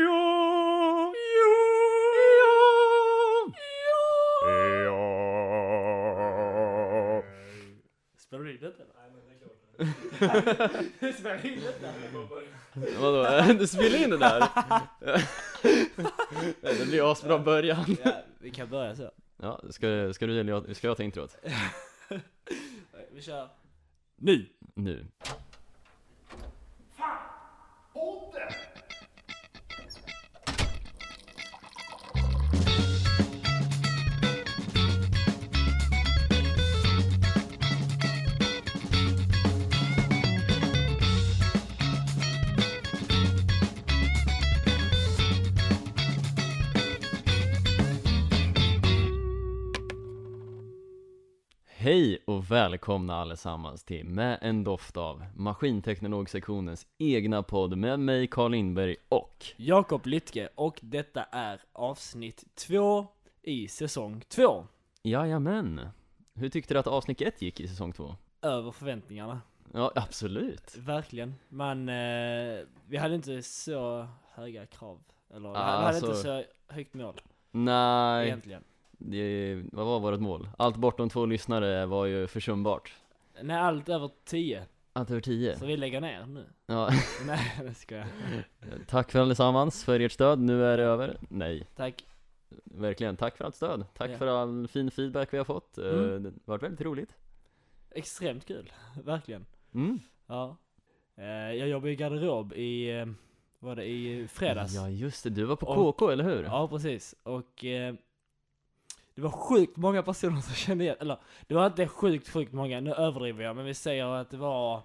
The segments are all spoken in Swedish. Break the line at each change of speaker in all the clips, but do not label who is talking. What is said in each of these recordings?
Ja, ja, ja, ja.
Spelar du in detta? Nej, men det är klart. Spelar du in detta?
Vadå? Du spelar in det där? Nej, det blir asbra början.
Ja, vi kan börja så.
Ja, ska, ska du eller jag, ska jag ta introt?
Nej, Vi kör. Nu!
Nu. Hej och välkomna allesammans till Med en doft av Maskinteknologsektionens egna podd med mig Carl Lindberg och
Jakob Lytke och detta är avsnitt två i säsong två.
Jajamän! Hur tyckte du att avsnitt 1 gick i säsong 2?
Över förväntningarna.
Ja, absolut!
Verkligen. Men eh, vi hade inte så höga krav. Eller vi
Ah,
hade
alltså-
inte så högt mål
Nej,
egentligen.
det, vad var vårt mål? Allt bortom två lyssnare var ju försumbart.
Nej, allt över 10.
Allt över 10.
Så vi lägger ner nu.
Ja,
Nej, det ska jag.
tack för allesammans för ert stöd, nu är det över. Nej,
Tack.
verkligen. Tack för allt stöd. Tack
Ja.
för all fin feedback vi har fått. Eh,
Mm.
Det har varit väldigt roligt.
Extremt kul. Verkligen.
Mm.
Ja. Eh, jag jobbar i garderob i, eh, var det i fredags?
Ja just det, du var på
Och-
KK eller hur?
Ja, precis. Och eh, det var sjukt många personer som kände igen, eller det var inte sjukt, sjukt många, nu överdriver jag, men vi säger att det var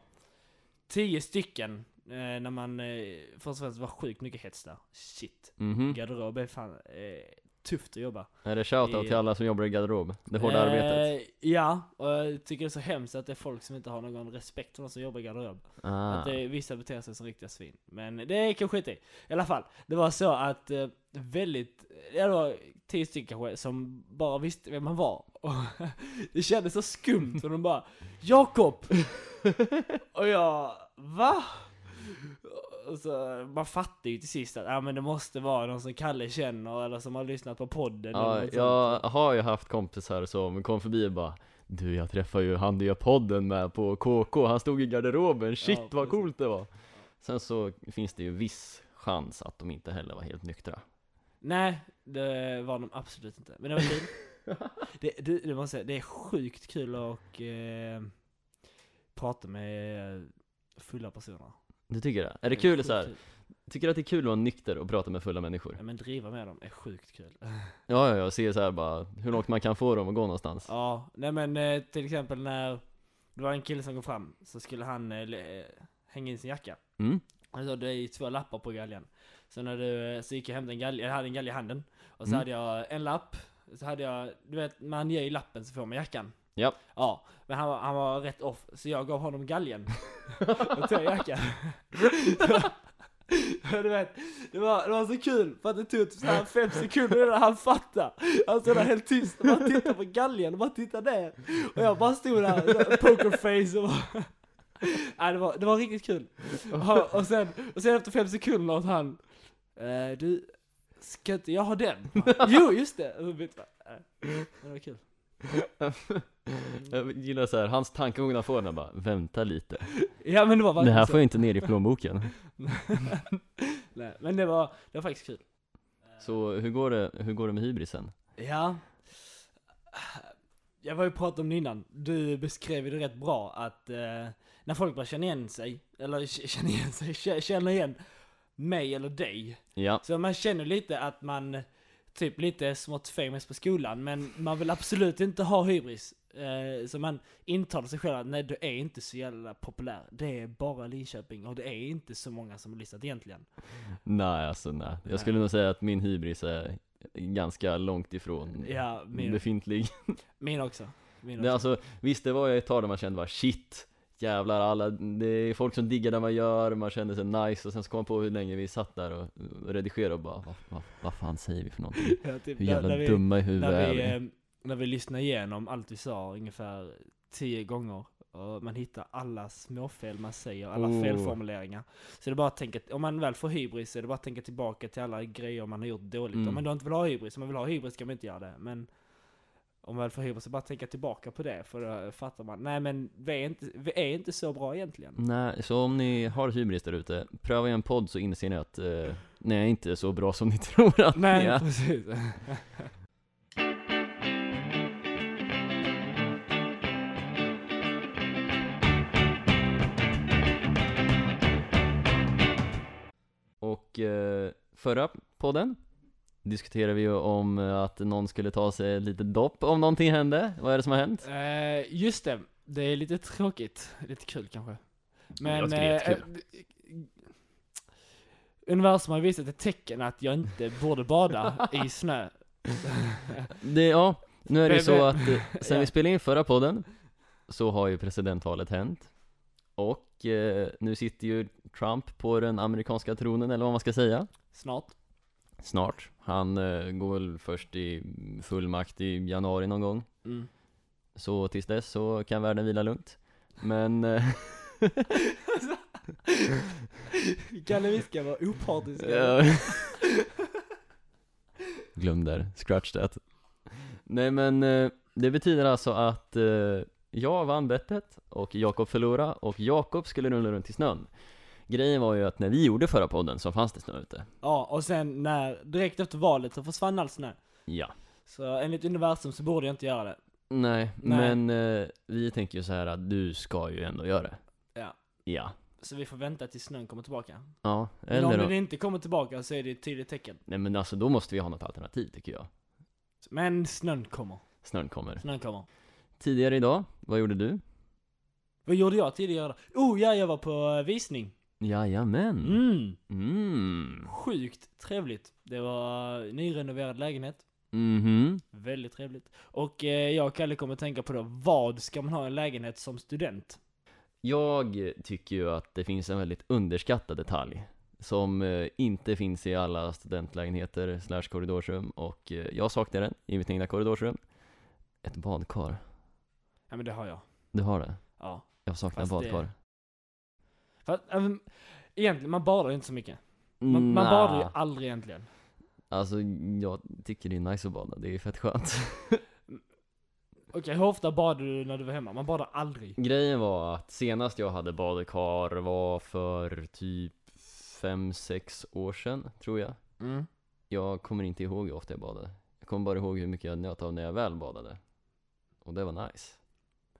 tio stycken eh, när man, eh, först och främst det var sjukt mycket hets där. Shit.
Mhm.
Garderob är fan eh, tufft att jobba.
Är det shoutout till
I-
alla som jobbar i garderob? Det hårda arbetet?
Eh, ja, och jag tycker det är så hemskt att det är folk som inte har någon respekt för de som jobbar i garderob.
Ah.
Att det, vissa beter sig som riktiga svin. Men det kan skita i. I alla fall, det var så att eh, väldigt, ja det var tio stycken kanske som bara visste vem man var. Och det kändes så skumt för de bara 'Jakob!' Och jag 'Va?' Och så, man fattar ju till sist att ah, men det måste vara någon som Kalle känner eller som har lyssnat på podden eller
Ja,
något
jag har ju haft kompisar som kom förbi och bara Du jag träffade ju han du gör podden med på KK, han stod i garderoben, shit
Ja,
vad
precis.
coolt det var! Sen så finns det ju viss chans att de inte heller var helt nyktra
Nej, det var de absolut inte. Men det var kul. det, det, det måste jag säga, det är sjukt kul att eh, prata med eh, fulla personer.
Du tycker det? Är det kul
sjukt
så här? tycker du att det är kul att vara nykter och prata med fulla människor?
Ja men driva med dem är sjukt kul.
Ja ja, jag ser så här bara hur långt man kan få dem att gå någonstans
ja, nej men eh, till exempel när det var en kille som kom fram så skulle han eh, le- hänga in sin jacka.
Mm,
Han sa Alltså, det är ju två lappar på galgen. Så när du, eh, så gick jag och hämtade en galge, jag hade en galge i handen. Och så
Mm.
hade jag en lapp, så hade jag, du vet man ger ju lappen så får man jackan.
Japp.
Ja, men han var, han var rätt off, så jag gav honom galgen. och tog jackan. du vet, det var, det var så kul för att det tog typ så här fem sekunder innan han fattade. Han stod där helt tyst och bara tittade på galgen och bara tittade ner. Och jag bara stod där, så här, pokerface och bara... Nej, det, var, det var riktigt kul. Och, och, sen, och sen efter fem sekunder åt han... Eh, du, ska inte jag ha den? jo, just det! Och så bytte man. Eh, Det var kul.
Jag gillar så här, hans tankegång när får den bara Vänta lite,
Ja men det var
det här
verkligen
får jag inte ner i plånboken
Nej, men det var, det var faktiskt kul.
Så hur går det, hur går det med hybrisen?
Ja. Jag var ju pratat om det innan. Du beskrev ju det rätt bra att eh, när folk bara känner igen sig, eller k- känner igen sig, k- känner igen mig eller dig.
Ja
Så man känner lite att man typ lite smått famous på skolan, men man vill absolut inte ha hybris. Eh, så man intalar sig själv att nej, du är inte så jävla populär. Det är bara Linköping och det är inte så många som har lyssnat egentligen.
Nej alltså nej.
Nej.
Jag skulle nog säga att min hybris är ganska långt ifrån
Ja, min,
befintlig.
min också. Min också.
Mm. Det, är alltså, visst det var jag ett tag där man kände bara shit, jävlar alla, det är folk som diggar det man gör, man kände sig nice och sen så kom man på hur länge vi satt där och och redigerade och bara vad, vad, vad fan säger vi för någonting?
Ja, typ,
Hur
när-
jävla
när vi- eh,
dumma i huvudet
när
är
vi,
vi?
eh, när vi lyssnade igenom allt vi sa ungefär tio gånger Och man hittar alla småfel man säger, alla
Oh.
felformuleringar. Så det är bara att tänka, om man väl får hybris så är det bara att tänka tillbaka till alla grejer man har gjort dåligt.
Mm.
Om man då inte vill ha hybris, om man vill ha hybris kan man inte göra det. Men om man väl får hybris så bara tänka tillbaka på det, för då fattar man. Nej men vi är inte, vi är inte så bra egentligen.
Nej, så om ni har hybris där ute, pröva en podd så inser ni att eh, ni är inte så bra som ni tror att
Nej,
ni är.
precis.
Och eh, förra podden diskuterade vi ju om eh, att någon skulle ta sig ett litet dopp om någonting hände. Vad är det som har hänt?
Eh, just det, det är lite tråkigt. Lite kul kanske. Men...
Jag tycker det är
eh, eh, universum har visat ett tecken att jag inte borde bada i snö.
Det, ja, nu är det ju
Men-
så att eh, sen
ja.
vi spelade in förra podden så har ju presidentvalet hänt. Och eh, nu sitter ju Trump på den amerikanska tronen, eller vad man ska säga.
Snart.
Snart. Han eh, går väl först i fullmakt i januari någon gång.
Mm.
Så tills dess så kan världen vila lugnt. Men eh,
Kalle vi ska vara opartiska.
Ja. Glöm där, scratch that. Nej men eh, det betyder alltså att eh, jag vann bettet och Jakob förlorade och Jakob skulle rulla runt i snön. Grejen var ju att när vi gjorde förra podden så fanns det snö ute.
Ja, och sen när, direkt efter valet så försvann all snö.
Ja.
Så enligt universum så borde jag inte göra det.
Nej,
Nej.
men eh, vi tänker ju så här att du ska ju ändå göra det.
Ja.
Ja.
Så vi får vänta tills snön kommer tillbaka.
Ja,
Men om
eller
den
då.
inte kommer tillbaka så är det ett tydligt tecken.
Nej men alltså då måste vi ha något alternativ tycker jag.
Men snön kommer.
Snön kommer.
Snön kommer.
Tidigare idag, vad gjorde du?
Vad gjorde jag tidigare? Oh ja, jag var på eh, visning.
Jajamän.
Mm.
Mm.
Sjukt trevligt. Det var eh, nyrenoverad lägenhet.
Mhm.
Väldigt trevligt. Och eh, jag och Kalle kommer tänka på då, vad ska man ha i en lägenhet som student?
Jag tycker ju att det finns en väldigt underskattad detalj som eh, inte finns i alla studentlägenheter slash korridorsrum och eh, jag saknar den i mitt egna korridorsrum. Ett badkar.
Ja men det har jag.
Du har det?
Ja.
Jag saknar
Fast det-
badkar.
För att, äm, egentligen, man badar ju inte så mycket. Man, man
Nja,
badar ju aldrig egentligen.
Alltså jag tycker det är nice att bada, det är fett skönt.
Okej, eh, hur ofta badar du när du var hemma? Man badar aldrig.
Grejen var att senast jag hade badkar var för typ 5-6 år sedan, tror jag.
Mm.
Jag kommer inte ihåg hur ofta jag badade. Jag kommer bara ihåg hur mycket jag njöt av när jag väl badade. Och det var nice.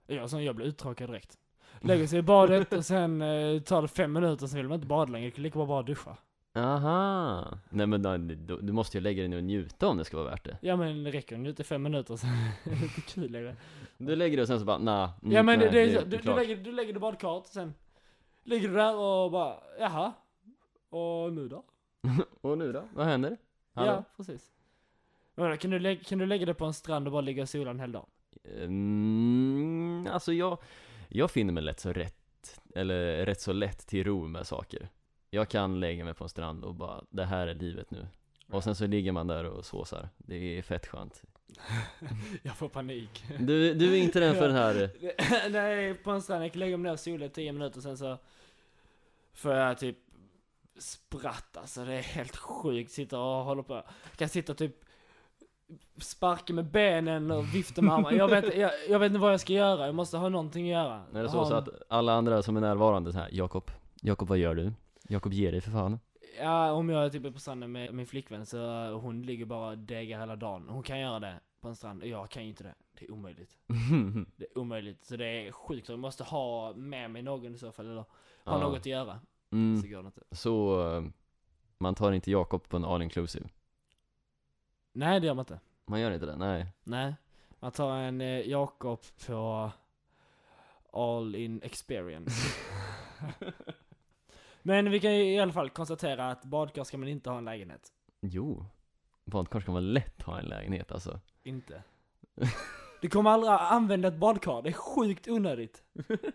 Jag, så jag blir uttråkad direkt. Lägger sig i badet och sen eh, tar det fem minuter, sen vill man inte bada längre. Jag kan lika bra bara duscha.
Aha! Nej men nej, du, du måste ju lägga dig ner och njuta om det ska vara värt det.
Ja men det räcker nu till fem minuter sen är det inte kul längre.
Du lägger dig och sen så bara nah, mm,
Ja men
nej,
Mm, det, det är, så-
inte
du, du
klart.
lägger, du lägger det badkaret sen ligger du där och bara jaha. Och nu då?
Och nu då? Vad händer?
Ja
Hallå?
precis. Men då, kan, du lägga, kan du lägga det på en strand och bara ligga och sola en hel dag?
Mm, alltså jag, jag finner mig lätt så rätt, eller rätt så lätt till ro med saker. Jag kan lägga mig på en strand och bara, det här är livet nu. Och sen så ligger man där och såsar. Det är fett skönt.
Jag får panik.
Du, du är inte den för den här
Nej på en strand, jag kan lägga mig ner och sola i tio minuter sen så får jag typ spratt alltså det är helt sjukt. Sitter och håller på. Jag kan sitta och typ sparka med benen och vifta med armarna. Jag vet, jag, jag vet inte vad jag ska göra, jag måste ha någonting att göra.
Är det
Ha
så,
en-
så att alla andra som är närvarande så här, Jakob, Jakob vad gör du? Jakob ge dig för fan.
Ja, om jag är typ på stranden med min flickvän så eh, hon ligger bara och degar hela dagen. Hon kan göra det på en strand, jag kan ju inte det. Det är omöjligt. Det är omöjligt. Så det är sjukt, jag måste ha med mig någon i så fall, eller ha
Ja.
något att göra. Så
Mm,
går det inte.
så eh, man tar inte Jakob på en all inclusive.
Nej, det gör man inte.
Man gör inte det, nej.
Nej. Man tar en eh, Jakob på all in experience. Men vi kan ju i alla fall konstatera att badkar ska man inte ha en lägenhet.
Jo. Badkar ska man lätt ha en lägenhet alltså.
Inte. Du kommer aldrig använda ett badkar, det är sjukt onödigt.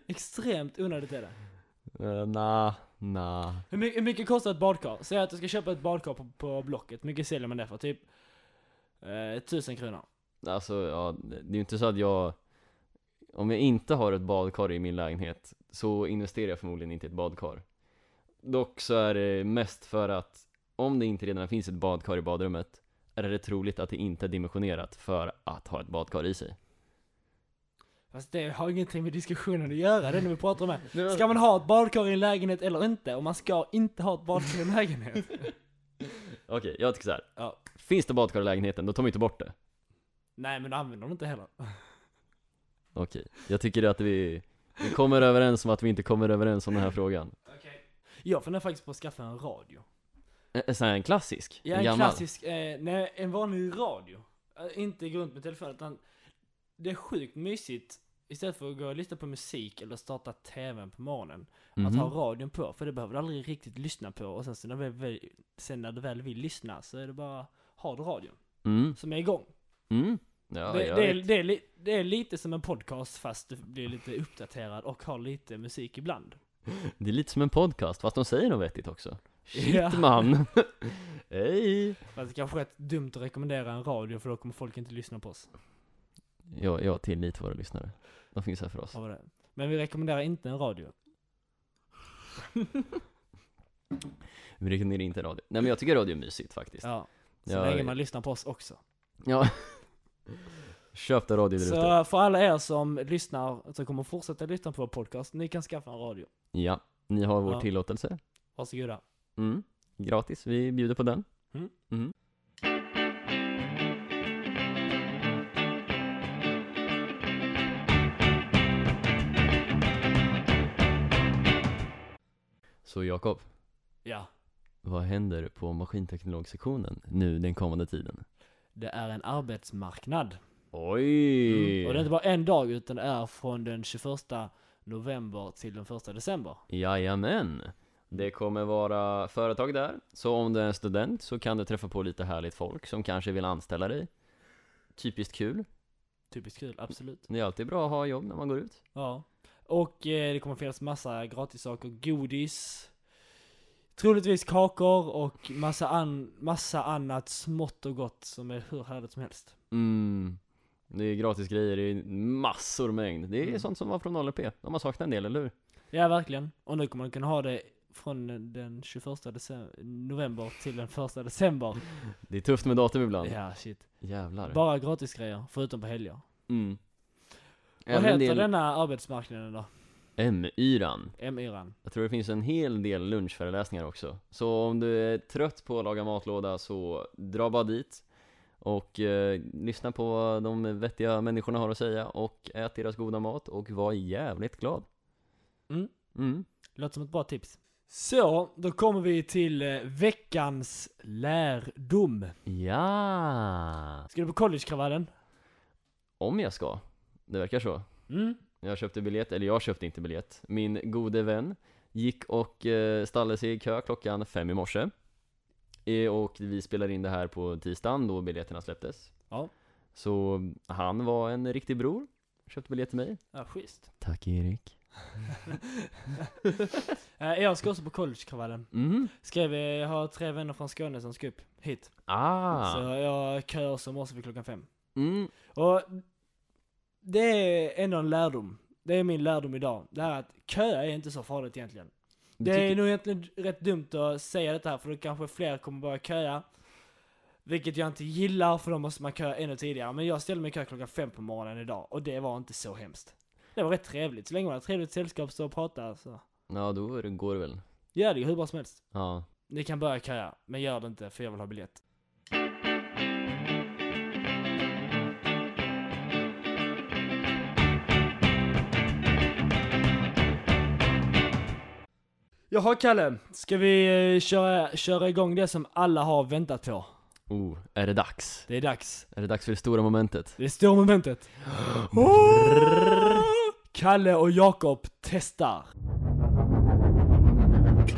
Extremt onödigt är det.
Eh, nah, nah.
Hur mycket, hur mycket kostar ett badkar? Säg att du ska köpa ett badkar på, på Blocket, hur mycket säljer man det för? Typ eh, 1000 kronor.
Alltså ja, det är ju inte så att jag Om jag inte har ett badkar i min lägenhet så investerar jag förmodligen inte i ett badkar. Dock så är det mest för att om det inte redan finns ett badkar i badrummet är det troligt att det inte är dimensionerat för att ha ett badkar i sig.
Fast det har ingenting med diskussionen att göra, det är det vi pratar om här. Ska man ha ett badkar i en lägenhet eller inte? Och man ska inte ha ett badkar i en lägenhet.
Okej, jag tycker så här.
Ja.
Finns det badkar i lägenheten, då tar man inte bort det.
Nej men då använder de inte heller.
Okej, jag tycker att vi, vi kommer överens om att vi inte kommer överens om den här frågan.
Jag funderar faktiskt på att skaffa en radio.
En- En sån här en klassisk?
Ja, en klassisk, eh, nej, en vanlig radio. Eh, Inte gå runt med telefonen utan det är sjukt mysigt istället för att gå och lyssna på musik eller starta tvn på morgonen.
Mhm.
Att ha radion på, för det behöver du aldrig riktigt lyssna på och sen, så när, väl, väl, sen när du väl vill lyssna så är det bara, har du radion
Mm,
som är igång.
mm. Ja,
det,
jag
det, är,
vet.
det, är li, det är lite som en podcast fast du blir lite uppdaterad och har lite musik ibland.
det är lite som en podcast, fast de säger något vettigt också. Shit
Ja.
man! Hej!
Fast det kanske är rätt dumt att rekommendera en radio för då kommer folk inte lyssna på oss.
Jag, jag tilllitar våra lyssnare. De finns här för oss.
Ja, vad det är. Men vi rekommenderar inte en radio.
Vi rekommenderar inte radio. Nej men jag tycker radio är mysigt faktiskt. Ja.
Ja. Så
Ja,
länge
ja.
man lyssnar på oss också.
Köp det radio där ute.
Så för alla er som lyssnar, som kommer fortsätta lyssna på vår podcast, ni kan skaffa en radio.
Ja, ni har vår
Ja.
tillåtelse.
Varsågoda.
Mm. Gratis, vi bjuder på den.
Mm.
Mm. Så Jakob,
Ja.
vad händer på maskinteknologsektionen nu den kommande tiden?
Det är en arbetsmarknad.
Oj!
Mm, Och det är inte bara en dag, utan det är från den 21 november till den 1 december.
Jajamän! Det kommer vara företag där, så om du är en student så kan du träffa på lite härligt folk som kanske vill anställa dig. Typiskt kul.
Typiskt kul, absolut.
Det är alltid bra att ha jobb när man går ut.
Ja. Och eh, det kommer finnas massa gratissaker, godis, troligtvis kakor och massa, an- massa annat smått och gott som är hur härligt som helst.
Mm. Det är gratis grejer, det är massor mängd. Det är
Mm.
sånt som var från ALP. De har saknat en del, eller hur?
Ja, verkligen. Och nu kommer man kunna ha det från den 21 decem- november till den 1 december.
Det är tufft med datum ibland.
Ja, shit.
Jävlar.
Bara gratisgrejer, förutom på helger.
Mm.
Vad heter
Även del
denna arbetsmarknaden då?
M-yran.
M-yran.
Jag tror det finns en hel del lunchföreläsningar också. Så om du är trött på att laga matlåda så dra bara dit och eh, lyssna på vad de vettiga människorna har att säga och ät deras goda mat och var jävligt glad.
Mm.
Mm.
Låter som ett bra tips. Så, då kommer vi till eh, veckans lärdom.
Ja!
Ska du på collegekravallen?
Om jag ska. Det verkar så.
Mm.
Jag köpte biljett, eller jag köpte inte biljett. Min gode vän gick och eh, stallade sig i kö klockan fem i morse. Eh, Och vi spelade in det här på tisdagen då biljetterna släpptes.
Ja.
Så han var en riktig bror. Köpte biljett till mig.
Ja, schysst.
Tack Erik.
Eh, jag ska också på collegekravallen.
Mm.
Skrev, eh, jag har tre vänner från Skåne som ska upp hit. Så
Ah.
jag kör som morse vid klockan fem.
Mm.
Och det är ändå en lärdom. Det är min lärdom idag. Det här att köa är inte så farligt egentligen.
Du
Det är
tycker...
nog egentligen rätt dumt att säga detta här för då kanske fler kommer börja köa. Vilket jag inte gillar för då måste man köa ännu tidigare. Men jag ställde mig i kö klockan fem på morgonen idag och det var inte så hemskt. Det var rätt trevligt. Så länge man har ett trevligt sällskap så och pratar så.
Ja, då är det- går det väl.
Gör det ju hur bra som helst.
Ja.
Ni kan börja köa, men gör det inte för jag vill ha biljett. Jaha Kalle, ska vi eh, köra, köra igång det som alla har väntat på?
Oh, är det dags?
Det är dags.
Är det dags för det stora momentet?
Det är stora momentet. Kalle och Jakob testar.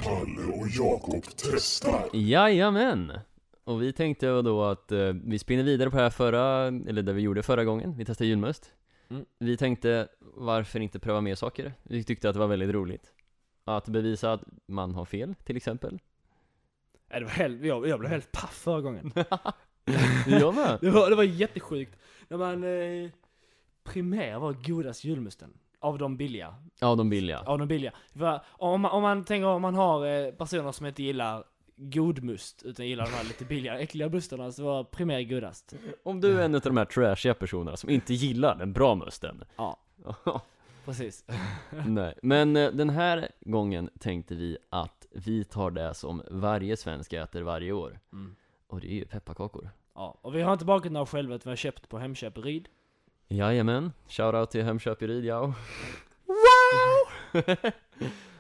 Kalle och Jakob testar.
Jajamän! Och vi tänkte ju då att eh, vi spinner vidare på det här förra, eller det vi gjorde förra gången, vi testade julmust.
Mm.
Vi tänkte, varför inte pröva mer saker? Vi tyckte att det var väldigt roligt. Att bevisa att man har fel, till exempel.
Nej, Äh, det var helt, jag, jag blev helt paff förra gången.
Jag med!
Det var, det var jättesjukt. När man eh, Primera var godast julmusten. Av de billiga.
Ja, de billiga.
Av de billiga. För om, man- om man tänker om man har eh, personer som inte gillar god must, utan gillar de här lite billigare, äckliga mustarna, så var primer godast.
Om du är en av de här trashiga personerna som inte gillar den bra musten.
Ja, precis.
Nej, men eh, den här gången tänkte vi att vi tar det som varje svensk äter varje år.
Mm.
Och det är ju pepparkakor.
Ja, och vi har inte bakat några själva, utan vi har köpt på Hemköp i Ryd.
Jajamän, shoutout till Hemköp i Ryd, ja.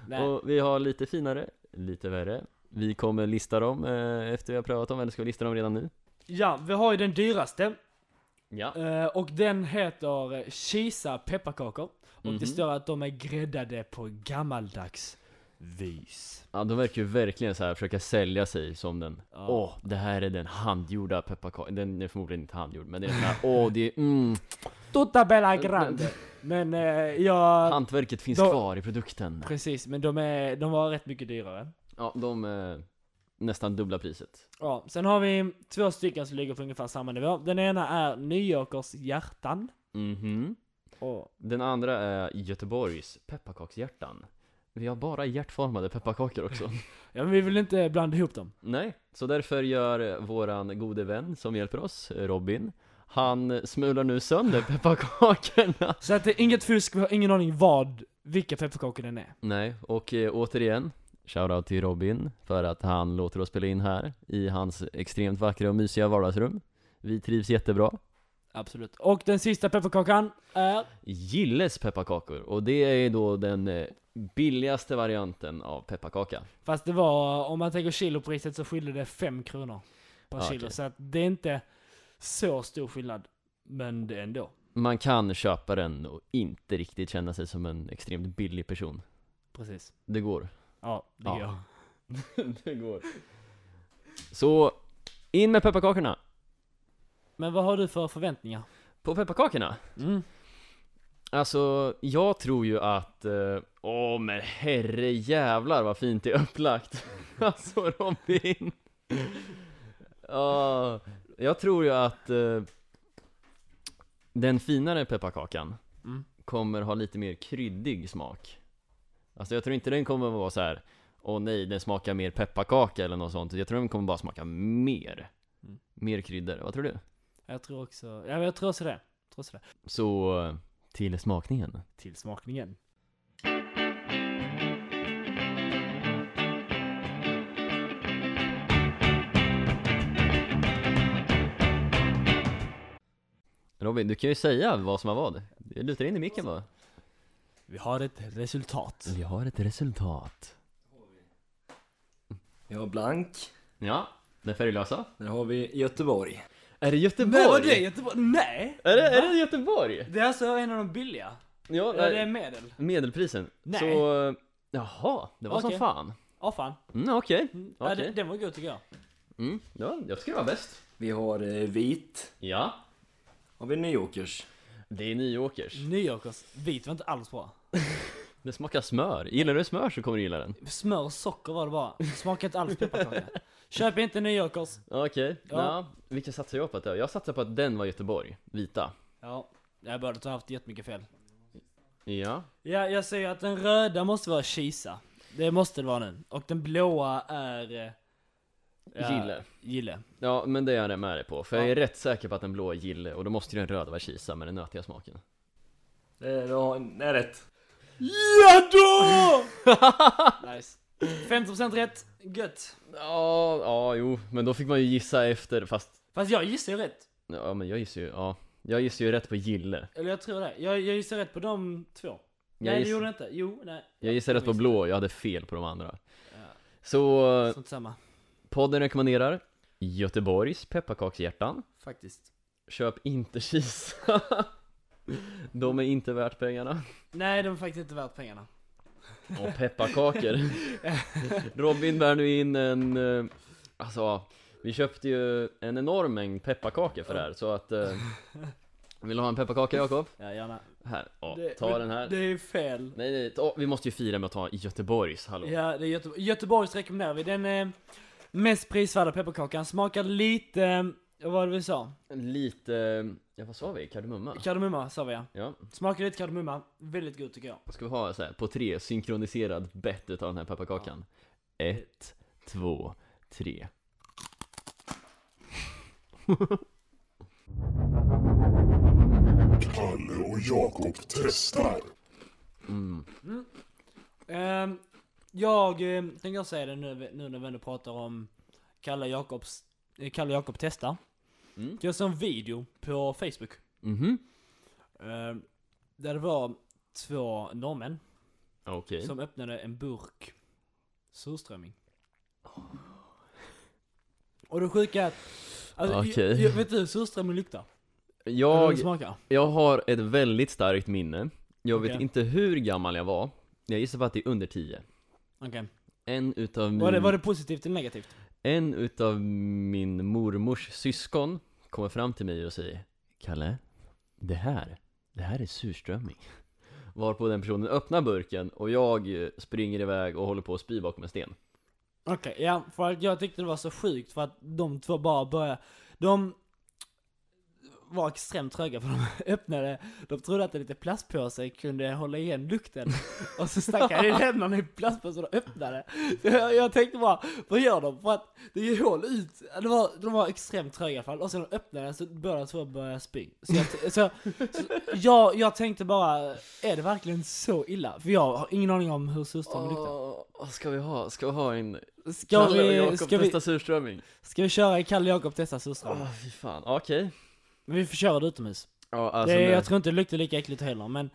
Nej.
Och vi har lite finare, lite värre. Vi kommer lista dem eh, efter vi har prövat dem, eller ska vi lista dem redan nu?
Ja, vi har ju den dyraste.
Ja.
Eh, och den heter eh, Kisa pepparkakor. Och
Mhm.
det står att de är gräddade på gammaldags vis.
Ja, de verkar ju verkligen så här försöka sälja sig som den
Ja.
Åh, det här är den handgjorda pepparkakan Den är förmodligen inte handgjord, men det är den här Åh, det är mm,
Tutta bella grande. Men eh, jag...
Hantverket finns
Då-
kvar i produkten
Precis, men de, är, de var rätt mycket dyrare.
Ja, de eh, nästan dubbla priset
Ja, sen har vi två stycken som ligger på ungefär samma nivå. Den ena är Nyåkers hjärtan.
Mhm
Och,
Den andra är Göteborgs pepparkakshjärtan Vi har bara hjärtformade pepparkakor också
ja, men vi vill inte blanda ihop dem.
Nej, så därför gör våran gode vän som hjälper oss, Robin Han smular nu sönder pepparkakorna
Så att det är inget fusk, vi har ingen aning vad, vilka pepparkakor den är.
Nej, och eh, återigen Shoutout till Robin för att han låter oss spela in här i hans extremt vackra och mysiga vardagsrum Vi trivs jättebra
Absolut. Och den sista pepparkakan är...
Gilles pepparkakor och det är då den eh, billigaste varianten av pepparkaka
Fast det var, om man tänker kilopriset så skilde det 5 kronor per
Ja,
kilo.
Ah, okej.
Så att det är inte så stor skillnad. Men det är ändå.
Man kan köpa den och inte riktigt känna sig som en extremt billig person
Precis.
Det går
Ja, det
Ja.
gör jag.
Det går Så, in med pepparkakorna!
Men vad har du för förväntningar?
På pepparkakorna!
Mm.
Alltså, jag tror ju att... eh, Åh men herre jävlar vad fint det är upplagt! alltså Robin! Ja, jag tror ju att eh, den finare pepparkakan
Mm.
kommer ha lite mer kryddig smak. Alltså jag tror inte den kommer vara så här. åh nej, den smakar mer pepparkaka eller något sånt. Jag tror den kommer bara smaka mer.
Mm.
Mer kryddor, vad tror du?
Jag tror också, ja men jag tror också det. Jag tror också det.
Så, eh, till smakningen.
Till smakningen.
Robin, du kan ju säga vad som har vad. Du lutar in i micken bara.
Vi har ett resultat.
Vi har ett resultat.
Vi har blank.
Ja, den färglösa.
Där har vi Göteborg.
Är det Göteborg?
Nej, vad det är Göteborg? Nej!
Är det, är det Göteborg?
Det är alltså en av de billiga.
Ja, eh,
Ja, det är medel.
medelprisen.
Nej.
Så, eh, jaha, det var
Okej.
som fan.
Ja, fan.
Mm, okej.
Ja,
Okej.
den, den var god tycker jag.
Mm, ja, jag ska vara bäst.
Vi har eh, vit.
Ja.
Har vi New Yorkers.
Det är Nyåkers.
Nyåkers vit var inte alls bra.
Det smakar smör. Gillar du smör så kommer du gilla den.
Smör och socker var det bara. Det Smakade inte alls pepparkaka. Köp inte Nyåkers.
Okej.
Ja.
Ja. Vilka satsar jag på att det var? Jag satsar på att den var Göteborg. Vita.
Ja, jag borde ha haft jättemycket fel.
Ja.
Ja, jag säger att den röda måste vara Kisa. Det måste det vara nu. Och den blåa är... eh, ja,
Gille.
Gille.
Ja, men det är jag med dig på. För jag
Ja.
är rätt säker på att den blå är Gille och då måste ju den röda vara Kisa med den nötiga smaken.
Det, det, har, det är Eh, rätt.
Ja då! nice. 50% rätt. Gött.
Ja, ja, jo, men då fick man ju gissa efter, fast
Fast jag gissar ju rätt.
ja, men jag gissar ju, ja, jag gissar ju rätt på Gille.
Eller jag tror det. Jag, jag gissar rätt på de två. nej,
giss-
det gjorde jag inte. Jo, nej.
Jag gissar rätt på
visste.
blå, jag hade fel på de andra.
Ja.
Så
Sånt samma.
podden rekommenderar Göteborgs pepparkakshjärtan.
Faktiskt.
Köp inte Kisa. De är inte värt pengarna.
Nej, de är faktiskt inte värt pengarna.
Och pepparkakor. Robin bär nu in en, eh, alltså, vi köpte ju en enorm mängd pepparkakor för det här, så att eh, vill du ha en pepparkaka Jakob?
Ja, gärna.
Här, ja,
Det-
ta
men
den här.
Det är fel.
Nej nej, ta, vi måste ju fira med att ta Göteborgs, hallå?
Ja, det är Göteborg. Göteborgs rekommenderar vi. Den eh, mest prisvärda pepparkakan smakar lite Och vad var det vi sa?
Lite, ja vad sa vi? Kardemumma?
Kardemumma sa vi ja.
Ja.
Smakar lite kardemumma, väldigt god tycker jag.
Ska vi ha så här, på tre, synkroniserad bett utav den här pepparkakan? Ett, två, tre.
Kalle och Jakob testar.
Mm.
Ehm, jag eh, tänkte jag säga det nu, nu när vi ändå pratar om Kalle och Jakobs, eh, Kalle och Jakob testar.
Mm.
Jag såg en video på Facebook.
Mhm.
ehm, där det var två norrmän
Okej.
som öppnade en burk surströmming. Och det sjuka är att, alltså,
Okej.
jag, jag, vet du hur surströmming luktar? Eller hur
Jag,
det smakar?
jag har ett väldigt starkt minne. Jag vet
Okej.
inte hur gammal jag var. Jag gissar på att det är under tio.
Okej.
En utav min...
Var, det, var det positivt eller negativt?
En utav min mormors syskon kommer fram till mig och säger Kalle, det här, det här är surströmming Varpå den personen öppnar burken och jag eh, springer iväg och håller på att spy bakom en sten
Okej, ja, för att jag tyckte det var så sjukt för att de två bara började, de var extremt tröga för de öppnade, de trodde att en liten plastpåse kunde hålla igen lukten och så stack han i händerna i plastpåsen och öppnade. Så jag, jag tänkte bara, vad gör de? För att det ger hål ut, de var, de var extremt tröga i alla fall och sen de öppnade den så båda två började spy. Så, jag, så, så jag, jag tänkte bara, är det verkligen så illa? För jag har ingen aning om hur surströmming luktar.
Åh, ska vi ha, ska vi ha en
Ska
Kalle och
vi,
Jakob
eh, ska vi,
testa surströmming?
Ska vi köra i Kalle Jakob testar surströmming?
Åh, fy fan, okej
Men vi får köra det utomhus.
Ja, alltså
det,
nu-
Eh, Jag tror inte det luktar lika äckligt heller, men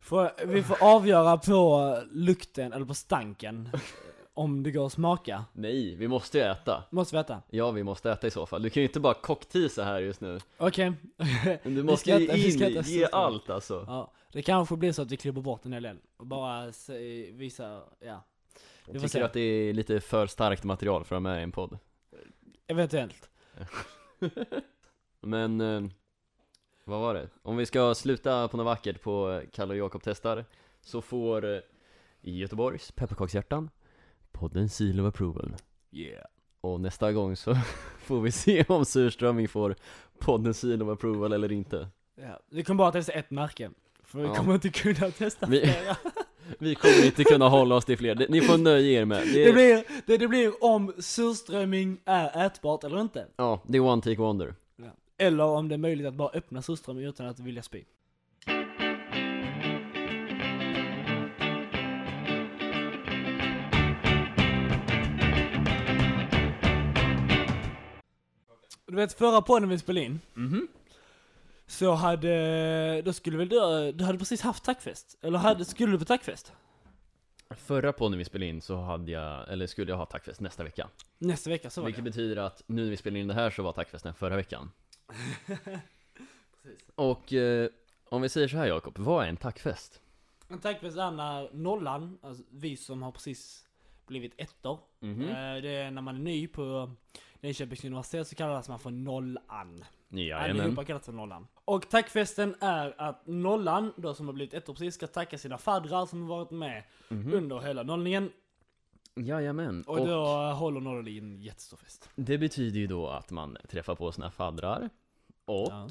får, vi får avgöra på lukten, eller på stanken, om det går att smaka.
Nej, vi måste ju äta
Måste veta.
Ja, vi måste äta i så fall. Du kan ju inte bara cockteasa här just nu
Okej.
Du
Vi
måste
ska
ge
äta- vi ska äta
in, ge
surströmming.
allt alltså
ja, det kanske blir så att vi klipper bort en hel del. Och bara se, visa, ja. Vi får
Tycker
se.
du att det är lite för starkt material för att vara med i en podd?
Eventuellt.
Men, eh, vad var det? Om vi ska sluta på något vackert på eh, Kalle och Jakob testar Så får eh, Göteborgs pepparkakshjärtan podden Seal of Approval
Yeah.
Och nästa gång så får vi se om surströmming får podden Seal of Approval eller inte
Ja. Vi kommer bara testa ett märke. För vi
Ja.
kommer inte kunna testa
Vi-
flera.
Vi kommer inte kunna hålla oss till fler, Det- ni får nöja er med
Det blir, det, det blir om surströmming är ätbart eller inte.
Ja, det är one take wonder
Eller om det är möjligt att bara öppna surströmming utan att vilja spy. Du vet förra podden vi spelade in,
Mhm
så hade, då skulle väl du, du hade precis haft tackfest? Eller hade, skulle du på tackfest?
Förra podden vi spelade in så hade jag, eller skulle jag ha tackfest nästa vecka
Nästa vecka så var
Vilket
det.
betyder att nu när vi spelar in det här så var tackfesten förra veckan Och eh, om vi säger så här Jakob, vad är en tackfest?
En tackfest är när nollan, alltså vi som har precis blivit ettor,
Mhm.
Eh, Det är när man är ny på Linköpings universitet så kallas man för nollan.
Jajamän
Allihopa kallas för nollan. Och tackfesten är att nollan, då som har blivit ettor precis, ska tacka sina faddrar som har varit med
Mhm.
under hela nollningen.
Jajamän,
Och,
och
då håller nollan i en jättestor fest.
det betyder ju då att man träffar på sina faddrar Och
Ja.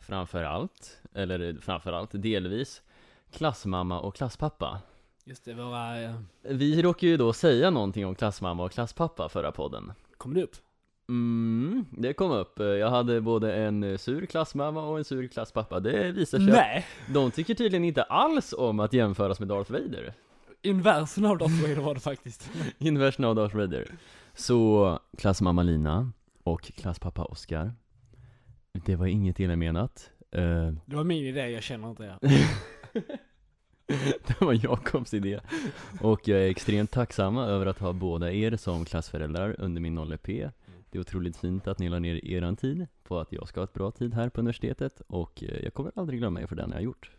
framförallt, eller framförallt delvis Klassmamma och klasspappa
Just det, våra... eh,
Vi råkade ju då säga någonting om klassmamma och klasspappa förra podden
Kommer det upp?
Mm, det kom upp. Jag hade både en sur klassmamma och en sur klasspappa. Det visar sig att
Nej!
de tycker tydligen inte alls om att jämföras med Darth Vader.
Inversen av Darth Vader var det faktiskt.
Inversen av Darth Vader. Så klassmamma Lina och klasspappa Oscar. Det var inget illa menat. Eh,
Det var min idé, jag känner inte er.
det var Jakobs idé. Och jag är extremt tacksamma över att ha båda er som klassföräldrar under min 0P. Det är otroligt fint att ni la ner eran tid på att jag ska ha ett bra tid här på universitetet och eh, jag kommer aldrig glömma er för den jag har gjort.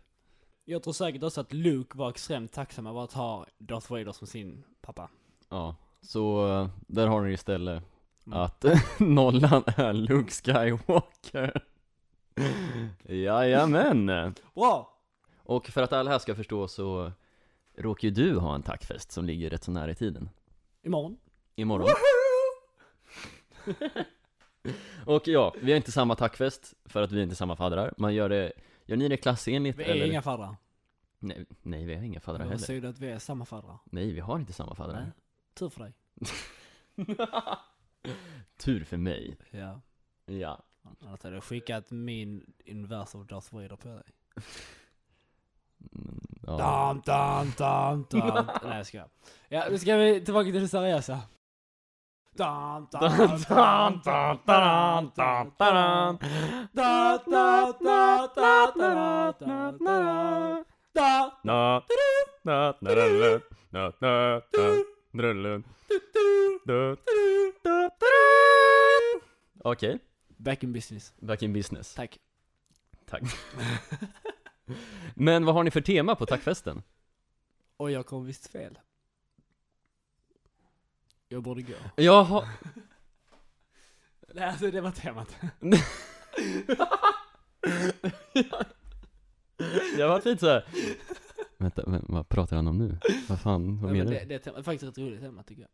Jag tror säkert också att Luke var extremt tacksam över att ha Darth Vader som sin pappa.
Ja, så eh, där har ni det istället
Mm.
att nollan är Luke Skywalker. Jajamän!
Bra!
Och för att alla här ska förstå så råkar ju du ha en tackfest som ligger rätt så nära i tiden.
Imorgon.
Imorgon. Och ja, vi har inte samma tackfest för att vi är inte samma faddrar. Man gör det, gör ni det klassenligt
Vi är
eller?
inga faddrar.
Nej, nej, vi har inga faddrar
Det
heller.
betyder att vi är samma faddrar.
Nej, vi har inte samma faddrar.
Nej. Tur för dig.
Tur för mig.
Ja.
Ja.
Annars hade jag skickat min invers av Darth Vader på dig.
Mm, ja.
Dam, dam, dam, dam. Nej jag skojar. Ja, nu ska vi tillbaka till det seriösa. Dam, dam, dam, dam, dam, dam, dam. Da, da, da, da, da, da, da. Da,
Na, na, na, na, na, na, na, na, na, na,
du, du,
na.
du, du.
Okej,
Back in business.
back in business.
Tack.
Tack. Men vad har ni för tema på tackfesten?
Och jag kom visst fel. Jag borde gå.
Jaha,
Nej, alltså det var temat.
jag var lite såhär Vänta, men, vad pratar han om nu? Vad fan, vad
Nej, men
menar
det,
du?
det är tema- faktiskt ett roligt tema tycker jag.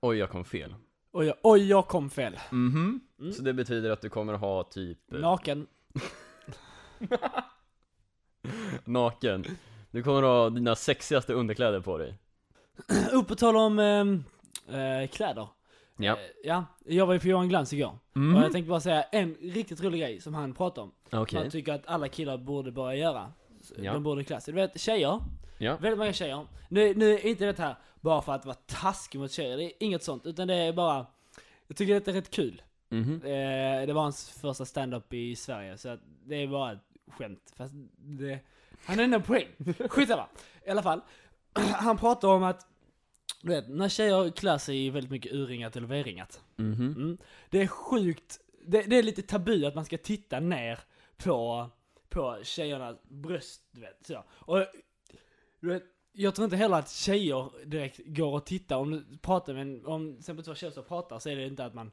Oj, jag kom fel
Oj, jag, oj, jag kom fel.
Mhm.
Mm.
Så det betyder att du kommer ha typ
Naken.
naken Du kommer ha dina sexigaste underkläder på dig
Upp och tala om ehm, eh, kläder.
Ja
Eh, ja, jag var ju på Johan Glans igår. Och jag
mm.
tänkte bara säga en riktigt rolig grej som han pratade om.
Okej,
Han tycker att alla killar borde börja göra. Så
Ja.
De borde klassa. Du vet, tjejer.
ja
Väldigt många tjejer. Nu, nu är inte det här bara för att vara taskig mot tjejer. Det är inget sånt. Utan det är bara... Jag tycker detta är rätt kul.
Mhm.
Eh, det var hans första stand-up i Sverige, så att det är bara ett skämt. Fast det, han har ändå en poäng. Skitsamma. I alla fall. Han pratar om att, du vet, när tjejer klär sig i väldigt mycket urringat eller V-ringat.
Mhm.
Mm, det är sjukt, det, det är lite tabu att man ska titta ner på, på tjejernas bröst, du vet. Så. Och, du vet, jag tror inte heller att tjejer direkt går och tittar, om du pratar med en, om till exempel två tjejer som pratar så är det inte att man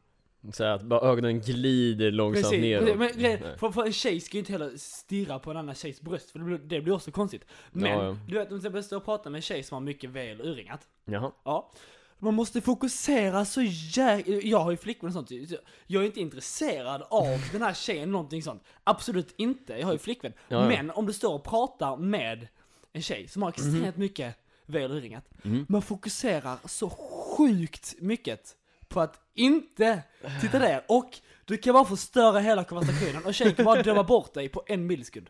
Så att bara ögonen glider långsamt
Precis,
neråt Mm.
precis. men grejen-
Nej.
för, för en tjej ska ju inte heller stirra på en annan tjejs bröst, för det blir, det blir också konstigt. Men,
Ja, ja.
du vet om jag står och pratar med en tjej som har mycket V eller urringat.
Jaha,
Ja. Man måste fokusera så jäkla... Jag har ju flickvän och sånt, så jag är inte intresserad av den här tjejen, någonting sånt. Absolut inte, jag har ju flickvän.
Ja, ja.
Men om du står och pratar med en tjej som har extremt
Mhm.
mycket V eller urringat, man fokuserar så sjukt mycket på att inte titta där. Och du kan bara förstöra hela konversationen och tjejen kan bara döma bort dig på en millisekund.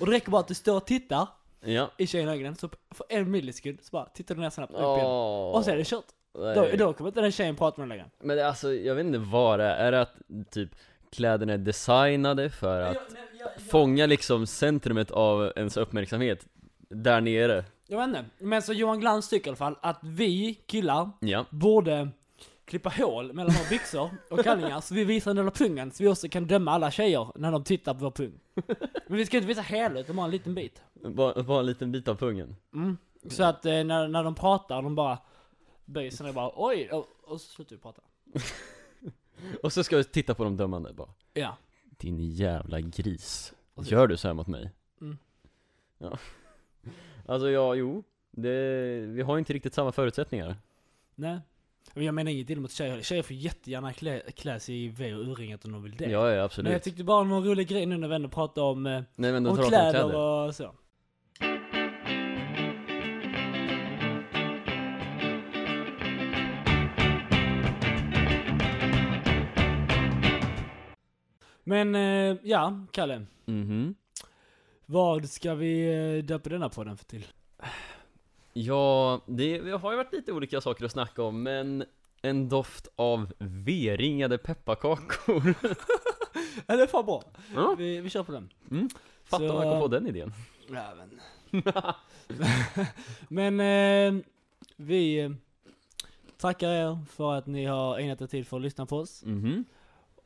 Och det räcker bara att du står och tittar
ja
i tjejens ögonen, så för en millisekund så bara tittar du ner snabbt upp igen.
Åh.
Och så är det kört. Då,
Nej.
då kommer inte den tjejen prata med den längre.
Men det- alltså, jag vet inte vad det är, är det att typ kläderna är designade för att fånga liksom centrumet av ens uppmärksamhet där nere?
Jag vet inte, men så Johan Glans tycker i alla fall att vi killar
Ja,
borde klippa hål mellan våra byxor och kallingar så vi visar en del av pungen så vi också kan döma alla tjejer när de tittar på vår pung. Men vi ska inte visa hela utan bara en liten bit.
bara, bara en liten bit av pungen
Mm. Så att eh, när, när de pratar, de bara böjer sig ner och bara oj, och, och så slutar vi prata.
Och så ska vi titta på de dömande bara
Ja.
Din jävla gris,
Och så-
gör du så här mot mig?
Mm.
Ja Alltså ja, jo det, vi har ju inte riktigt samma förutsättningar
Nej. Men jag menar inget illa mot tjejer, tjejer får jättegärna klä, klä sig i V och urringat om de vill det.
Ja, ja absolut
Men jag tyckte bara det var en rolig grej nu när vi ändå pratar om, eh,
Nej men de
om
tar av sig
kläder
kläder
och så. Men eh, ja, Kalle.
Mhm
Vad ska vi eh, döpa denna podden för till?
Ja, det det har ju varit lite olika saker att snacka om men en doft av V-ringade pepparkakor
Ja, det är fan bra. Mm.
Ja.
Vi, vi kör på den.
Fattar
Så-
man kom på den idén
Även. Men eh, vi eh, tackar er för att ni har ägnat er tid för att lyssna på oss.
Mhm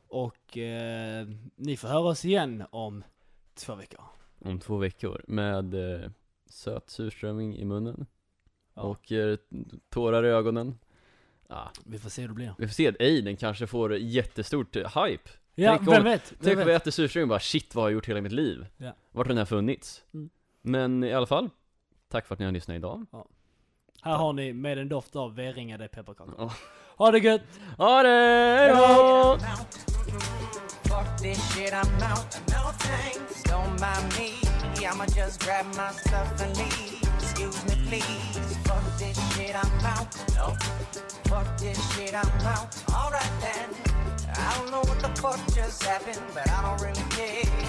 Och eh, ni får höra oss igen om två veckor.
Om två veckor med eh, söt surströmming i munnen
Ja.
och eh, tårar i ögonen. Ah,
Vi får se hur det blir.
vi får se, ej den kanske får jättestort eh, hype.
Ja,
Tänk om-
vem vet? Vem
Tänk om vi
vet?
äter surströmming och bara shit vad har jag gjort hela mitt liv?
Ja.
Vart har den här funnits?
Mm.
Men i alla fall, tack för att ni har lyssnat idag.
Här har ni med en doft av V-ringade pepparkakor.
Ja.
Ha det gött!
Ha det! Hej då!
Mountain I'm out. No thanks, don't mind me. I'ma just grab my stuff and leave. Excuse me, please. Fuck this shit, I'm out. No, fuck this shit, I'm out. Alright then. I don't know what the fuck just happened, but I don't really care.